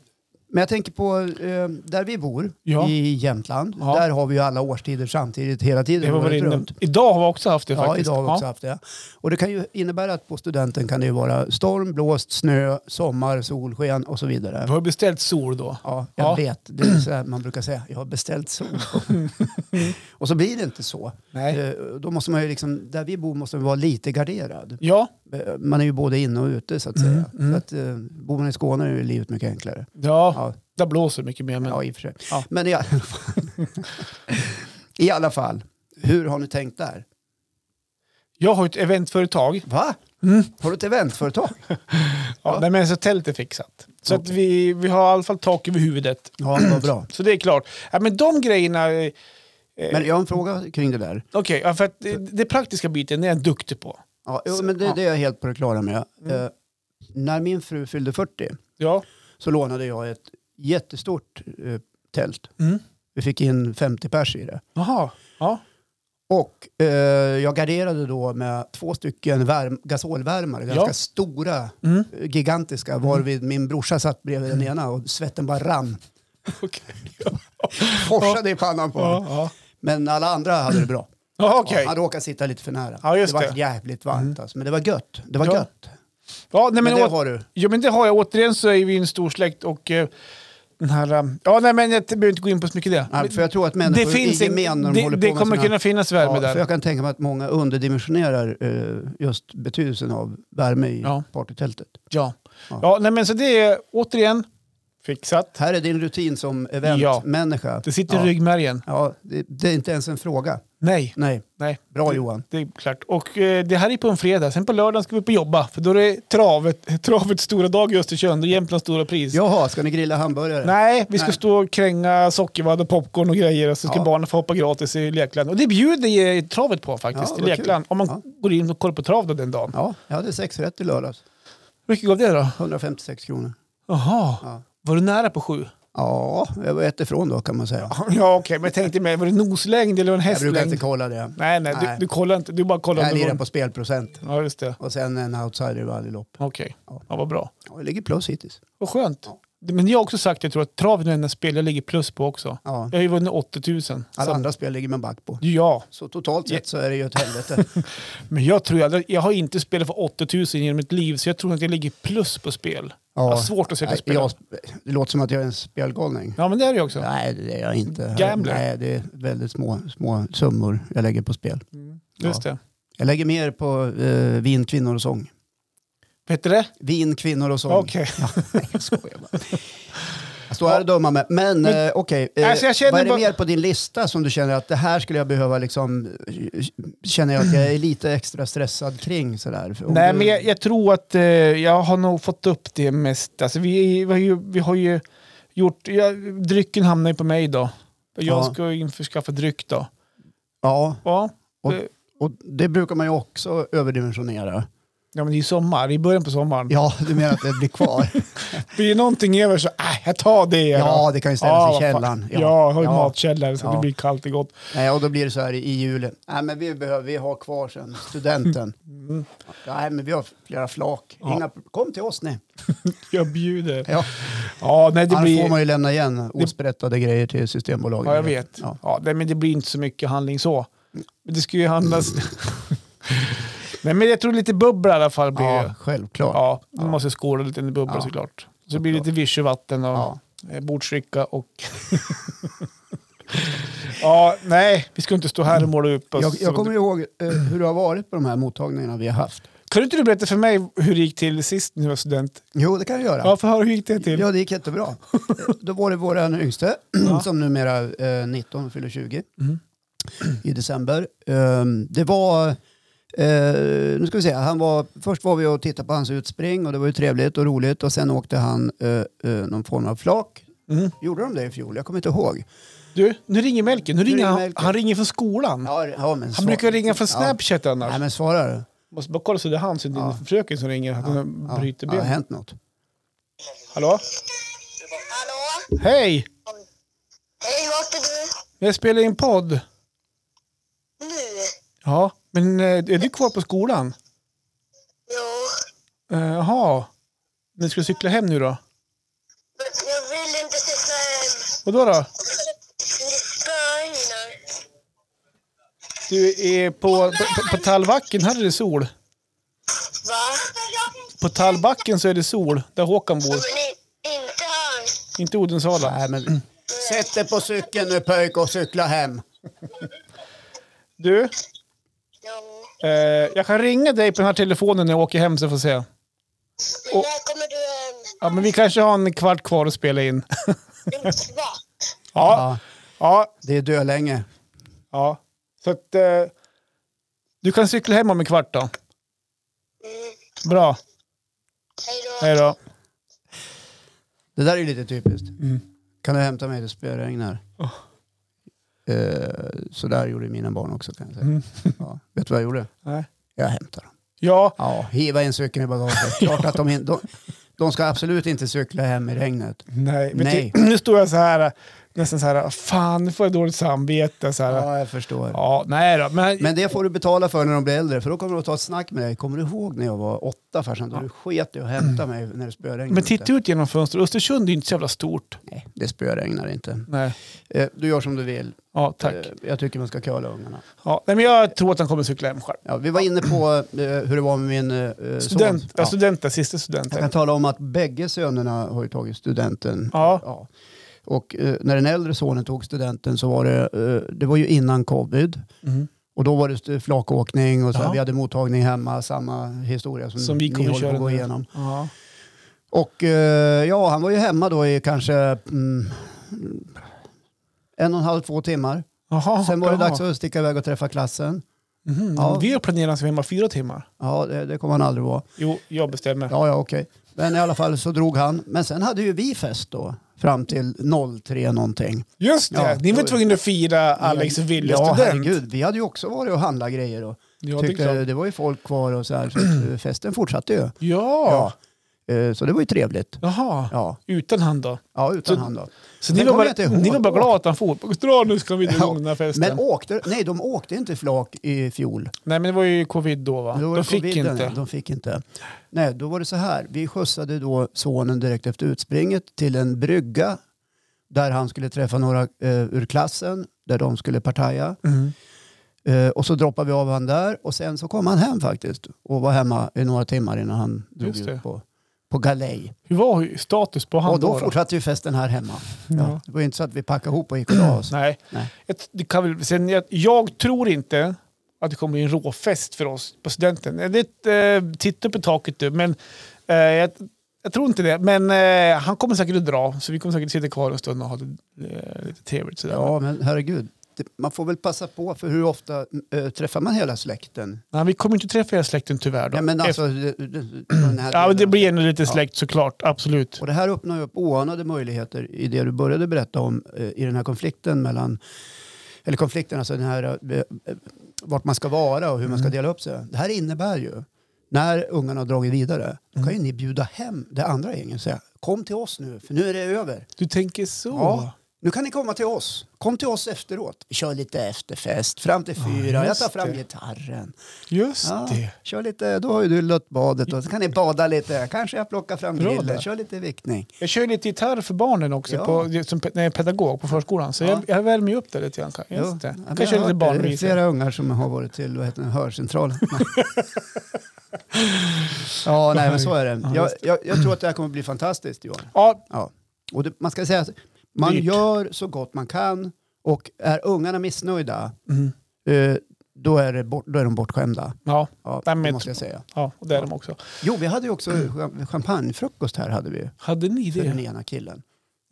Men jag tänker på eh, där vi bor, Ja. i Jämtland. Ja. Där har vi ju alla årstider samtidigt, hela tiden. Det var året väl inne. runt. Idag har vi också haft det Ja, faktiskt. idag har vi också haft det. Och det kan ju innebära att på studenten kan det ju vara storm, blåst, snö, sommar, solsken och så vidare. Vi har beställt sol då. Ja, jag Ja. vet. Det är så här man brukar säga, jag har [LAUGHS] beställt sol. och så blir det inte så. Nej. Eh, Då måste man ju liksom, där vi bor måste man vara lite garderad. Ja, Eh, Man är ju både inne och ute så att Mm, säga. Så att, eh, bor man i Skåne är ju livet mycket enklare. ja. Ja, där blåser det mycket mer. Men... ja i och för sig. Ja. Men i [LAUGHS] alla, fall, i alla fall, hur har ni tänkt där? Jag har ju ett eventföretag. Va? Mm. Har du ett eventföretag? Ja. Ja. Nej, men så tält är fixat. Så att vi, vi har i alla fall tak över huvudet. Ja, vad bra. Så det är klart. Ja, men de grejerna... [CLEARS THROAT] eh, Men jag har en fråga kring det där. Okej, ja, för att det, det praktiska biten är jag duktig på. Ja, jo, men det, det är jag helt på det klara med. Mm. Eh, när min fru fyllde 40 Ja. så lånade jag ett jättestort eh, tält. Mm. Vi fick in 50 pers i det. Jaha. Ja. Och eh, jag garderade då med två stycken värm, gasolvärmare, ganska Ja. stora, Mm. eh, gigantiska, varvid min brorsa satt bredvid den ena och svetten bara rann. [LAUGHS] Okej. Forsade i pannan på Ja, honom. ja. Men alla andra hade det bra. Ja, okej. Ja, han råkade sitta lite för nära. Ja, just det var det. Mm. jävligt varmt alltså, men det var gött. Det var Ja. gött. Ja, nej, Men men, det åt, har du. ja, men det har jag. Återigen så är vi en stor släkt och eh, den här... um, Ja, nej, men jag behöver inte gå in på så mycket det. Ja, för jag tror att människor i en- gemen när de det, håller på det med kommer sina- kunna finnas värme för där. jag kan tänka mig att många underdimensionerar eh, just betydelsen av värme i Ja. partytältet. Ja. Ja. Ja, nej, men så det är återigen fixat. Här är din rutin som Ja. eventmänniska. Det sitter ja. i ryggmärgen. Ja, det, det är inte ens en fråga. Nej, Nej, nej. bra det, Johan. Det är klart. Och eh, det här är på en fredag. Sen på lördagen ska vi upp och jobba. För då är det travet, [LAUGHS] travets stora dag i Östersund och Jämtlands stora pris. Jaha, ska ni grilla hamburgare? Nej, vi ska Nej. stå och kränga sockervadd och popcorn och grejer och så ska Ja. barnen få hoppa gratis i lekland. Och det bjuder ju travet på faktiskt, Ja, i vad kul. lekland. Om man Ja. går in och kollar på trav då den dagen. Ja, jag hade sex rätt i lördags. Hur mycket gav det då? 156 kronor. Jaha, Ja. var du nära på [LAUGHS] sju? Ja, jag var ett ifrån då kan man säga. Ja, okej, men jag tänkte med, var det noslängd eller var det en jag brukar inte hästlängd? kolla det. Nej, nej, Nej. Du, du kollar inte. Du bara kollar. om Jag det lirar var- på spelprocent Ja, just det. och sen en outsider i varje lopp. Okej, Ja. ja, vad bra. Ja, jag ligger plus hittills. Vad skönt. Men jag har också sagt att jag tror att travet är det enda spel jag ligger plus på också. Ja. Jag har ju vunnit 80 000. Alla Så- andra spel ligger man back på. Alltså- Ja, Så totalt sett så är det ju ett [LAUGHS] helvete. men jag tror jag, jag har inte spelat för 80 000 genom mitt liv så jag tror att jag ligger plus på spel. Jag har svårt att se det Nej, spela. jag, det låter som att jag är en spelgalning. Ja, men det är det ju också. Nej, det är jag inte. Gambler. Nej, det är väldigt små, små summor jag lägger på spel. Just det. Jag lägger mer på eh, vin, kvinnor och sång. Vad heter det? Vin, kvinnor och sång. Okej. Ja, [LAUGHS] nej, jag skojar bara. Alltså, Jag står här och dömer mig. Men, Men- eh, okej, eh, Alltså, jag känner vad är det bara- mer på din lista som du känner att det här skulle jag behöva liksom, känner jag att jag är lite extra stressad kring sådär? För om Nej, du- men jag, jag tror att eh, jag har nog fått upp det mest. Alltså, vi, vi, har ju, vi har ju gjort... Ja, drycken hamnar ju på mig då. Jag Ja. ska ju införskaffa dryck då. Ja, Ja. Eh, Och- det- och det brukar man ju också Mm. överdimensionera. Ja men det är ju sommar, i början på sommaren. Ja, du menar att det blir kvar? Blir det någonting över så, äh, jag tar det. då. Ja, det kan [LAUGHS] ju Ja, ställas vad i fan. källaren. Ja, jag har ju Ja. matkällare så Ja. det blir kallt och gott. Nej, och då blir det så här i julen. Nej, men vi behöver vi har kvar sen studenten. Nej, men vi har flera flak. Mm. Ja. Inga, kom till oss ni. Jag [LAUGHS] bjuder. Ja. Ja, nej det Annars får blir... man ju lämna igen osprättade grejer till Systembolaget. Ja, jag vet. Ja. Ja, nej, men det blir inte så mycket handling så. Men det ska ju handlas... [LAUGHS] nej, men jag tror lite bubbla i alla fall blir det. Ja, självklart. Ja, man måste skåla lite i bubbla Ja. såklart. Så det blir lite vichyvatten och Ja. eh, bordsdricka och... [LAUGHS] ja, nej, vi ska inte stå här och måla upp oss. Jag, jag kommer ihåg eh, hur det har varit på de här mottagningarna vi har haft. Kan du inte du berätta för mig hur det gick till sist när du var student? Jo, det kan jag göra. Ja, för höra hur gick det till? Ja, det gick jättebra. [LAUGHS] Eh, Då var det vår yngste, [CLEARS THROAT] som numera eh, 19 och fyller 20, Mm. i december. Ehm, det var, eh, nu ska vi se, han var, först var vi och tittade på hans utspring och det var ju trevligt och roligt och sen åkte han eh, eh, någon form av flak. Mm. Gjorde de det i fjol? Jag kommer inte ihåg. Du, nu ringer Melker. Nu ringer ringer han, Melker. han ringer från skolan. Ja, ja, men han svar- brukar ringa från Ja. Snapchat annars. Nej, men svara du. Måste bara kolla så det är han, så det är Ja. din fröken som ringer. Att hon Ja, bryter ja, det har benet. hänt något. Hallå? Hallå? Hej! Hej, vart är du? Jag spelar in podd. Nu? Ja, men eh, är du kvar på skolan? Jo, Eh, Jaha. Ni ska cykla hem nu då? men jag vill inte cykla hem. Och då då? Det spöar ju nu. Du är på, på, på Tallbacken, här är det sol. Va? På Tallbacken så är det sol, där Håkan bor. Men i- inte han. Inte Odensala. Nej, men sätt dig på cykeln nu pöjk och cykla hem. Du, Jo. eh, jag kan ringa dig på den här telefonen när jag åker hem så får jag se. Men när kommer du hem? Ja, men vi kanske har en kvart kvar att spela in. En kvart? Ja, Ja, ja, det är dölänge. ja. Så att, eh, du kan cykla hem om en kvart då. Mm. Bra, Hej då. hej då. Det där är ju lite typiskt. Mm. Kan du hämta mig? Det spöregnar. Oh. Eh, så där gjorde mina barn också kan jag säga. [LAUGHS] Ja. Vet du vad jag gjorde? Mm. Nej. Jag hämtade dem. Ja, Ja, hiva in cykeln [LAUGHS] i bagaget. Klart att de, in, de, de ska absolut inte cykla hem i regnet. nej. Men Nej. typ- ty- nu står jag så här. nästan så här, fan nu får jag dåligt samvete. Så här, ja. Ja, jag förstår. nej då. Men, Men det får du betala för när de blir äldre, för då kommer de att ta ett snack med dig. Kommer du ihåg när jag var åtta farsan? Då du sket i att hämta mig när det spöregnade. men titta ute? ut genom fönstret, Östersund är ju inte så jävla stort. Nej, det spöregnar inte. Nej, Eh, Du gör som du vill. ja tack. Eh, Jag tycker man ska curla ungarna. Ja, nej, men jag tror att han kommer cykla hem själv. Ja, vi var inne på eh, hur det var med min eh, Student, alltså- son. ja. studenten, sista studenten. Jag kan tala om att bägge sönerna har ju tagit studenten. Ja. Och eh, när den äldre sonen tog studenten så var det, eh, det var ju innan covid. Mm. Och då var det st- flakåkning och så här, Ja. vi hade mottagning hemma, samma historia som, Som vi ni kommer håller på köra att gå nu. igenom. Ja. Och eh, ja, han var ju hemma då i kanske mm, en och en halv, två timmar. Jaha, Sen var det jaha. dags att sticka iväg och träffa klassen. Mhm, Ja. Vi har planerat att vara hemma fyra timmar. Ja, det, det kommer han aldrig vara. Jo, jag bestämmer. Ja, ja, okej. Men i alla fall så drog han. Men sen hade ju vi fest då, fram till 03 någonting. Just det, Ja, ni var då- tvungna att fira Alex och Willes Ja, student. herregud. Vi hade ju också varit och handlat grejer och Ja, det är tyckte det, klart. var ju folk kvar och så här. Så [CLEARS THROAT] att, eh, festen fortsatte ju. Ja, Eh, Så det var ju trevligt. jaha. Ja, Utan han då. ja utan Så- han då. Så Den ni var, kommer jag inte bara, ihåg. ni var bara glada att han for. Dra nu ska vi dra Ja, igång den här festen. Men åkte, nej de åkte inte flak i fjol. Nej men det var ju covid då va? Då var De det fick coviden, inte. De fick inte. Nej, då var det så här. Vi skjutsade då sonen direkt efter utspringet till en brygga där han skulle träffa några eh, ur klassen, där de skulle partaja. Mm. Eh, och så droppade vi av han där och sen så kom han hem faktiskt och var hemma i några timmar innan han drog Just det. ut på, på galej. Hur var ju status på han och då då? fortsatte ju festen här hemma. Ja. Ja. Det var ju inte så att vi packade ihop och gick och la [CLEARS THROAT] oss. Nej. Nej. Ett- Det kan väl, sen, jag, jag tror inte att det kommer bli en råfest för oss på studenten. Eh, Det är ett, eh, titta upp i taket du, men eh, jag, jag tror inte det. Men eh, han kommer säkert att dra, så vi kommer säkert sitta kvar en stund och ha det, eh, lite trevligt. Sådär. Ja, men herregud. Det- Man får väl passa på, för hur ofta eh, träffar man hela släkten? Nej, vi kommer inte träffa hela släkten tyvärr. Då. Ja, men Efter- alltså, det, det, den här [CLEARS THROAT] ja, men det delen. blir ändå lite Ja. släkt såklart, absolut. Och det här öppnar ju upp oanade möjligheter i det du började berätta om eh, i den här konflikten mellan, eller konflikten, alltså den här, eh, eh, vart man ska vara och hur man ska Mm. dela upp sig. Det här innebär ju, när ungarna har dragit vidare, då Mm. kan ju ni bjuda hem det andra gänget och säga kom till oss nu, för nu är det över. Du tänker så? Ja. Nu kan ni komma till oss. Kom till oss efteråt. Vi kör lite efterfest, fram till fyra. Jag just tar fram det. gitarren. Just Ja, det. kör lite, då har ju du lött badet och så kan ni bada lite. Kanske jag plockar fram Bra grillen, där. kör lite viktning. Jag kör lite gitarr för barnen också, Ja. på, som pe- när jag är pedagog på förskolan. Så Ja. jag, jag värmer ju upp det lite grann. kan- Jo, Just det. ja, Jag men kan köra har lite hört det. Det är barnvisor. flera ungar som har varit till vad heter [LAUGHS] det, hörcentralen. ja, nej, men så är det. Jag, jag, jag tror att det här kommer bli fantastiskt, Johan. Ja, Ja. Och det, man ska säga att man Dyrt. gör så gott man kan och är ungarna missnöjda, Mm. eh, då, är det bort, då är de bortskämda. ja. Ja, Nej, det men- måste jag säga. ja, och det är de också. Jo, vi hade ju [CLEARS THROAT] också cham- champagnefrukost här, hade vi, Hade ni för den det? ena killen.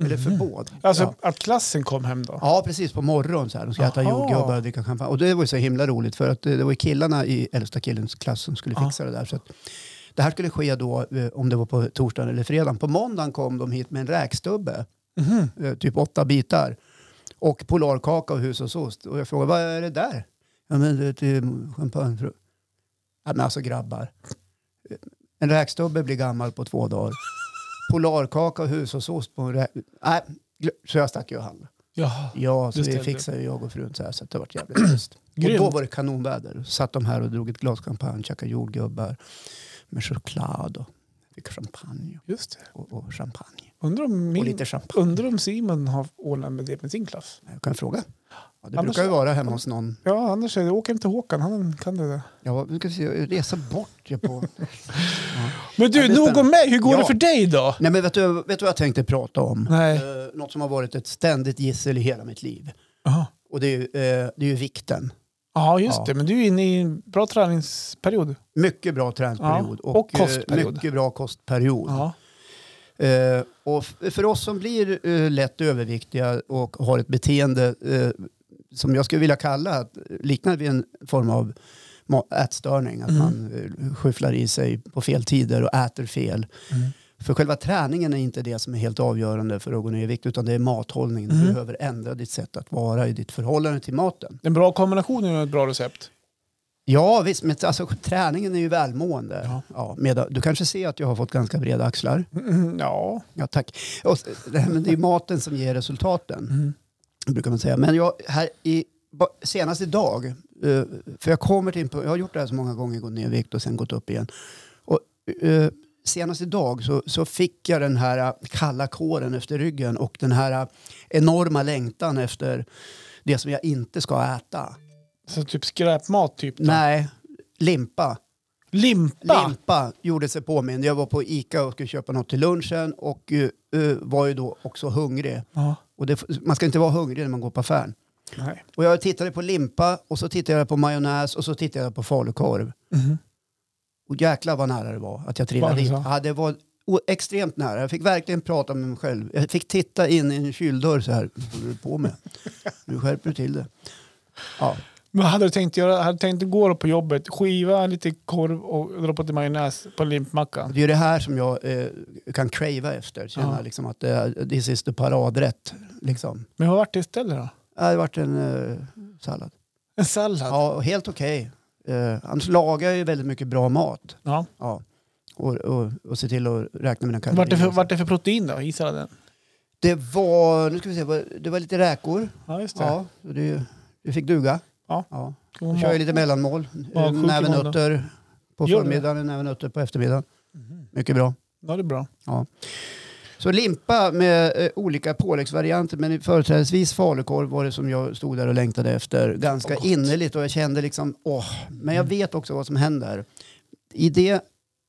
Eller för båda. Alltså ja. att klassen kom hem då? Ja, precis. På morgonen så här. De ska äta Aha. jordgubbar och dricka champagne. Och det var ju så himla roligt för att eh, det var ju killarna i äldsta killens klass som skulle Ja. fixa det där. Så att det här skulle ske då, eh, om det var på torsdagen eller fredagen. På måndagen kom de hit med en räkstubbe, Mhm. eh, typ åtta bitar. Och polarkaka och hushållsost. Och jag frågade, vad är det där? Ja, men det är till champagne. tror jag." Ja, men alltså grabbar. Eh, En räkstubbe blir gammal på två dagar. Polarkaka och hushållsost på en räk... Nej, glö- så jag stack ju och handlade. Jaha. Ja, så Just det det. fixade ju jag och frun så här så att det var jävligt [CLEARS THROAT] schysst. Och då Grymt. var det kanonväder. Satt de här och drog ett glas champagne, käkade jordgubbar med choklad och fick champagne Just det. och, och champagne. Undrar om, Och min, lite champagne. undrar om Simon har ordnat med det med sin klass? Jag kan fråga. Ja, det men brukar ju så- vara hemma hos någon. Ja, annars är det åk hem till Håkan. Han kan det där. Ja, nu ska vi se, resa bort [LAUGHS] ju på. Men Ja, du, det nog stämmer. om mig. Hur går Ja. det för dig då? Nej men vet du, vet du vad jag tänkte prata om? Nej. Eh, något som har varit ett ständigt gissel i hela mitt liv. Jaha. Och det är ju, eh, det är ju vikten. Ja, just Ja. det. Men du är inne i en bra träningsperiod. Mycket bra träningsperiod Ja, och, och eh, kostperiod. mycket bra kostperiod. Ja. Eh, och f- för oss som blir eh, lätt överviktiga och har ett beteende eh, som jag skulle vilja kalla att liknar vid en form av ma- ätstörning, att Mm. man eh, skyfflar i sig på fel tider och äter fel. Mm. För själva träningen är inte det som är helt avgörande för att gå ner i vikt utan det är mathållningen. Du Mm. behöver ändra ditt sätt att vara i ditt förhållande till maten. En bra kombination är ju ett bra recept. Ja, visst, men alltså, träningen är ju välmående. Ja. Ja. med, du kanske ser att jag har fått ganska breda axlar. Mm, ja. Ja, tack. Och, s- det, här, men det är maten som ger resultaten, brukar man säga. Men jag, här i, ba- senast idag, eh, för jag kommer till en punkt- jag har gjort det här så många gånger, gått ner i vikt och sen gått upp igen. Och, eh, senast idag så, så fick jag den här eh, kalla kåren efter ryggen och den här eh, enorma längtan efter det som jag inte ska äta. Så typ skräpmat typ. då. Nej, limpa. Limpa. Limpa gjorde sig påmind. Jag var på Ica och skulle köpa något till lunchen och eh, eh, var ju då också hungrig. Ja. Och det, man ska inte vara hungrig när man går på affären. Nej. Och jag tittade på limpa och så tittade jag på majonnäs och så tittade jag på falukorv. Mhm. Och jäklar vad nära det var att jag Var trillade det dit. så? Ja, det var o- extremt nära. Jag fick verkligen prata med mig själv. Jag fick titta in i en kyldörr så här. Vad håller du på med? Nu skärper du till det. Ja. Men hade du tänkt göra? Hade du tänkt gå på jobbet, skiva lite korv och droppa till majonnäs på limpmackan? Det är ju det här som jag eh, kan crava efter. Känna Ja. liksom att det this is the paradrätt. Liksom. Men vad vart det istället då? Ja, Det vart en eh, sallad. En sallad? Ja, och helt okej. Eh, annars lagar jag ju väldigt mycket bra mat. Ja. Ja. Och, och, och se till att räkna mina kalorier. Vart det, för, vart det för protein då i salladen? Det var, nu ska vi se, vad- det var lite räkor. Ja, just det. Ja, och det, det fick duga. Ja. ja. Ska Då man kör ha- jag lite mellanmål. Ja, Ja, sjuk i nävenötter på Gör du förmiddagen, nävenötter på eftermiddagen. Mycket bra. Mm-hmm. Ja, det är bra. Så limpa med eh, olika påläggsvarianter men företrädesvis falukorv var det som jag stod där och längtade efter ganska Gott. Mm. innerligt och jag kände liksom åh, men jag vet också vad som händer. I det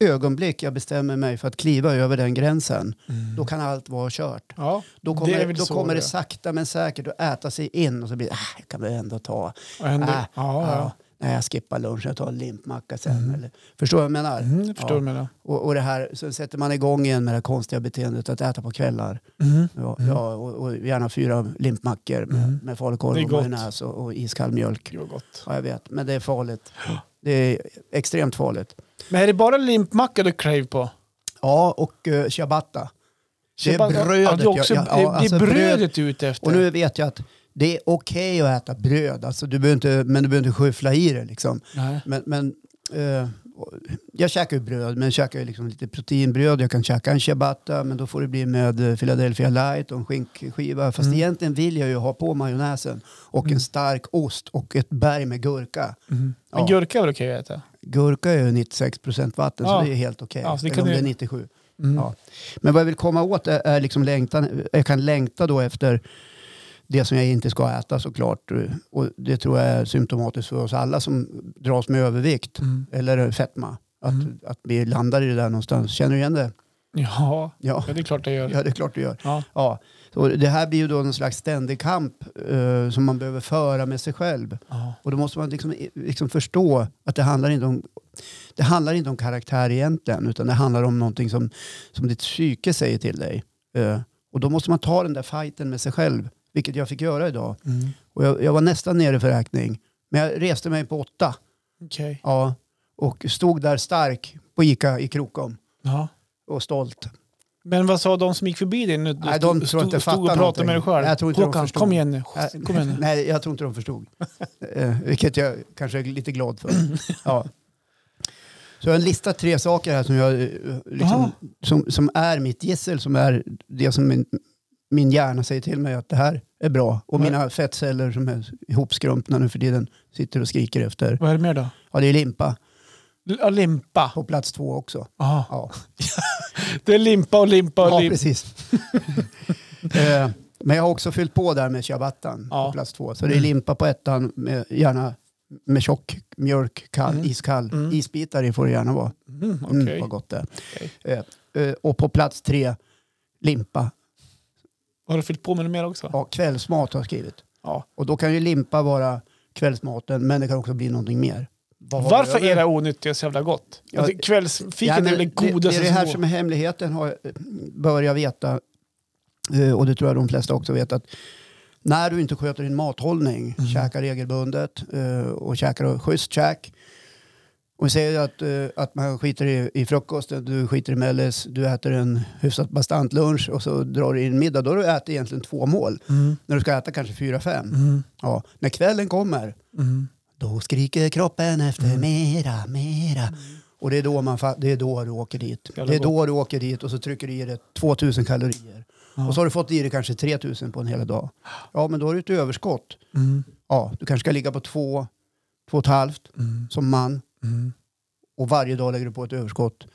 ögonblick jag bestämmer mig för att kliva över den gränsen, då kan allt vara kört. Ja, Då Mm. det är kommer, väl då så kommer det det är. sakta men säkert att äta sig in och så blir det, ah, jag kan väl ändå ta, Och ändå, Ah, ja, ja. ja. nej jag skippar lunchen, jag tar en limpmacka sen. Eller, förstår du vad jag menar? Mm, jag förstår Ja. vad du menar. Och, och det här, så sätter man igång igen med det här konstiga beteendet att äta på kvällar. Mm. Ja, ja och, och gärna fyra limpmackor med, med Det är falukorv och gott. majonnäs och, och iskall mjölk. Gud vad gott. Ja, jag vet, men det är farligt. Det är extremt farligt. Men är det bara limpmacka du crave på? Ja, och uh, ciabatta. Det Ciabatta- är brödet. Ja, det är, också, jag- jag- ja, det, alltså det är bröd- brödet du är ute efter. Och nu vet jag att det är okej att äta bröd, alltså, du behöver inte, men du behöver inte skyffla i det. Liksom. Nej. Men, men, eh, jag käkar ju bröd, men jag käkar ju liksom lite proteinbröd. Jag kan käka en ciabatta, men då får det bli med eh, Philadelphia light och en skinkskiva. Fast Mm. egentligen vill jag ju ha på majonnäsen och en stark ost och ett berg med gurka. Mm. Men Ja. gurka är väl okej att äta? Gurka är ju 96 procent vatten, Ja. så det är helt okej. Ja, så det Eller kan om du- det är 97. Mm. Ja. Men vad jag vill komma åt är, är liksom längtan. Jag kan längta då efter det som jag inte ska äta såklart. Och det tror jag är symptomatiskt för oss alla som dras med övervikt Mm. eller fetma. Att, Mm. att vi landar i det där någonstans. Känner du igen det? Ja. Ja, [LAUGHS] ja, det är klart jag gör. ja det är klart du gör. Ja. Ja. Och det här blir ju då någon slags ständig kamp eh, som man behöver föra med sig själv. Ja. Och då måste man liksom, liksom förstå att det handlar inte om det handlar inte om karaktär egentligen utan det handlar om någonting som, som ditt psyke säger till dig. Eh, och då måste man ta den där fighten med sig själv, vilket jag fick göra idag. Mm. Och jag, jag var nästan nere för räkning, men jag reste mig på åtta Okej. ja, och stod där stark på Ica i Krokom Ja. och stolt. Men vad sa de som gick förbi dig? Nu, Nej, de tror stod, inte stod och fattar pratade någonting. med dig själv. Nej, jag tror inte de Håkan, förstod. kom igen nu. Nej, Kom igen nu. [LAUGHS] Nej, jag tror inte de förstod. Eh, Vilket jag kanske är lite glad för. Ja. Så jag har en lista tre saker här som, jag, eh, Jaha. liksom, som, som är mitt gissel, som är det som min, min hjärna säger till mig att det här är bra. Och Nej. mina fettceller som är ihopskrumpna nu för tiden sitter och skriker efter. Vad är det mer då? Ja, det är limpa L- ja, limpa. på plats två också. Aha. Ja, Det är limpa och limpa och ja limpa. precis. [LAUGHS] Eh, Men jag har också fyllt på där med ciabattan Ja. Mm. på plats två. Så det är limpa på ettan, med, gärna med tjock mjölk, kall, iskall. Isbitar i får det gärna vara. Mm, Mm, okej. vad gott det är. Okej. Eh, eh, Och på plats tre, limpa. Har du fyllt på med något mer också? Ja, kvällsmat har jag skrivit. Ja. Och då kan ju limpa vara kvällsmaten, men det kan också bli någonting mer. Vad har vi Varför över? är det onyttiga så jävla gott? Ja, Alltså, kvällsfiket Ja, men är det det, godaste det är det här som som är hemligheten, har, bör jag veta. Eh, Och det tror jag de flesta också vet. att När du inte sköter din mathållning, käkar regelbundet eh, och käkar schysst käk. Och vi säger att, eh, att man skiter i, i frukosten, du skiter i mellis, du äter en hyfsat bastant lunch och så drar du in middag. Då har du ätit egentligen två mål. När du ska äta kanske fyra, fem. Ja. När kvällen kommer, Då skriker kroppen efter mera, mera. Och det är då, man, fa- det är då du åker dit. Jävla det är då du åker dit och så trycker du i dig 2000 kalorier. Och så har du fått i dig kanske 3000 på en hel dag. Ja, men då har du ett överskott. Mm. Ja, du kanske ska ligga på två, två och ett halvt Mm. som man. Mm. Och varje dag lägger du på ett överskott.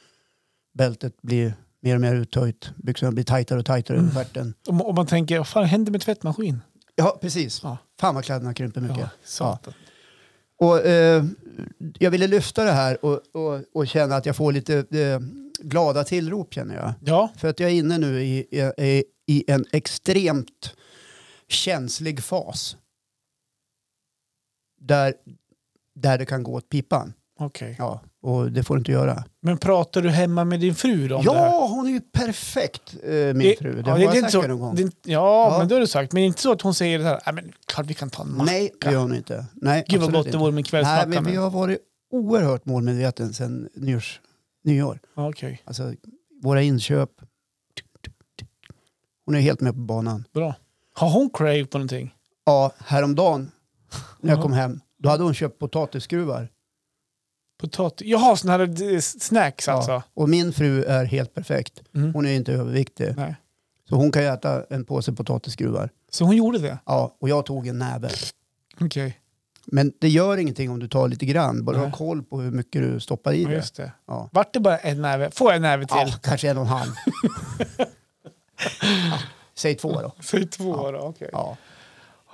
Bältet blir mer och mer uttöjt. Byxorna blir tajtare och tajtare över stjärten. Om, om man tänker, vad fan händer med tvättmaskin? Ja, precis. Ja. Fan vad kläderna krymper mycket. Ja, satan. Och, eh, jag ville lyfta det här och, och, och känna att jag får lite eh, glada tillrop känner jag. Ja. För att jag är inne nu i, i, i en extremt känslig fas. Där, där det kan gå åt pipan. okej. Ja, och det får du inte göra. Men pratar du hemma med din fru då om det här? Ja, hon är ju perfekt eh, min fru. Det ja, har det är jag inte sagt så, det någon gång. det är inte- ja, Ja. men det har du sagt. Men inte så att hon säger det här, nej men klart vi kan ta en macka. Nej, det gör hon inte. Nej, Gud vad absolut gott inte. det vore med Nej, kvällsmacka. men vi men- har varit oerhört målmedveten sedan nyårs, nyår. Ja, Okej, Alltså våra inköp. Hon är helt med på banan. bra. Har hon crave på någonting? Ja, häromdagen när jag Ja. kom hem, då hade hon köpt potatisskruvar. Potatis? Jaha, sådana här eh, snacks alltså? Ja. Och min fru är helt perfekt. Mm. Hon är inte överviktig. Nej. Så hon kan ju äta en påse potatisskruvar. Så hon gjorde det? Ja, och jag tog en näve. Okej, Men det gör ingenting om du tar lite grann. Bara Nej. ha koll på hur mycket du stoppar i ja, det. just det. Ja. Vart det bara en näve? Får jag en näve till? ja, [LAUGHS] kanske en och en halv. Ja, Säg två då. Säg två då, okej. Ja.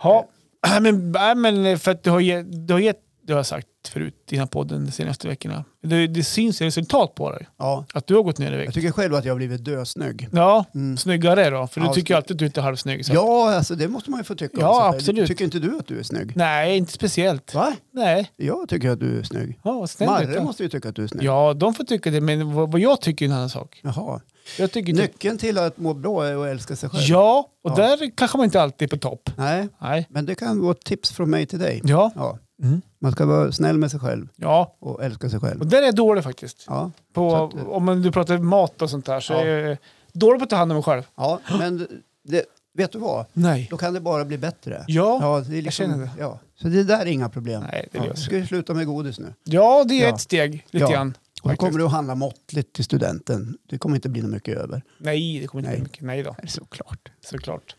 Ja. [CLEARS THROAT] Nej, men, nej, men eh, för att du har gett, du har gett, det har jag sagt förut i den här podden de senaste veckorna. Det, det syns i resultat på dig, Ja. att du har gått ner i Jag vikt. tycker själv att jag har blivit dösnygg. Ja, Mm. snyggare då, för du Ja, tycker ju snygg. alltid att du inte är halvsnygg. Så. att- Ja, alltså det måste man ju få tycka om Ja, sig själv. absolut. Tycker inte du att du är snygg? Nej, inte speciellt. Va? Nej, Jag tycker att du är snygg. ja, vad snäll du Marre är. måste ju tycka att du är snygg. Ja, de får tycka det, men vad, vad jag tycker är en annan sak. Jaha. Jag tycker inte- Nyckeln till att må bra är att älska sig själv. Ja, och Ja. där kanske man inte alltid är på topp. Nej, Nej. men det kan vara ett tips från mig till dig. Ja. Ja. Mm. Man ska vara snäll med sig själv ja, och älska sig själv. och där är jag dålig faktiskt. Ja, På, Så att, eh, om man- du pratar mat och sånt där så Ja. är jag dålig på att ta hand om mig själv. ja men det, vet du vad? Nej. Då kan det bara bli bättre. Ja, ja. det är liksom- känner det. Ja. Så det där är inga problem. Nej, det ja. löser Ska vi sluta med godis nu? det är Ja. ett steg lite Ja. grann. Och då faktiskt. kommer du att handla måttligt till studenten. Det kommer inte bli något mycket över. Nej, det kommer inte Nej. bli mycket. Nej då, Nej, Såklart. såklart.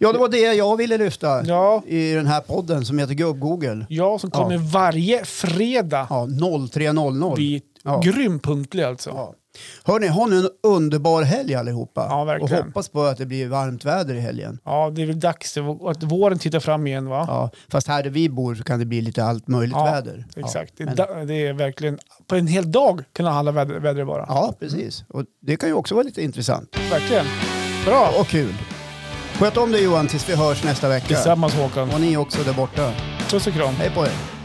Ja, det var det jag ville lyfta Ja, i den här podden som heter Gubb-Google. jag som kommer varje fredag. Ja, 03.00. Vi Ja. grym punktlig alltså. Ja. Hörni, ha nu en underbar helg allihopa. Ja, verkligen. Och hoppas på att det blir varmt väder i helgen. Ja, det är väl dags att våren tittar fram igen va? Ja, fast här där vi bor så kan det bli lite allt möjligt Ja, väder. Exakt. Ja, det, är men, da- det är verkligen på en hel dag kunna handla väder, väder bara. ja precis. Och det kan ju också vara lite intressant Verkligen. Bra. och kul. Sköt om dig Johan tills vi hörs nästa vecka. Tillsammans Håkan. Och ni också där borta. Puss och kram. Hej på er.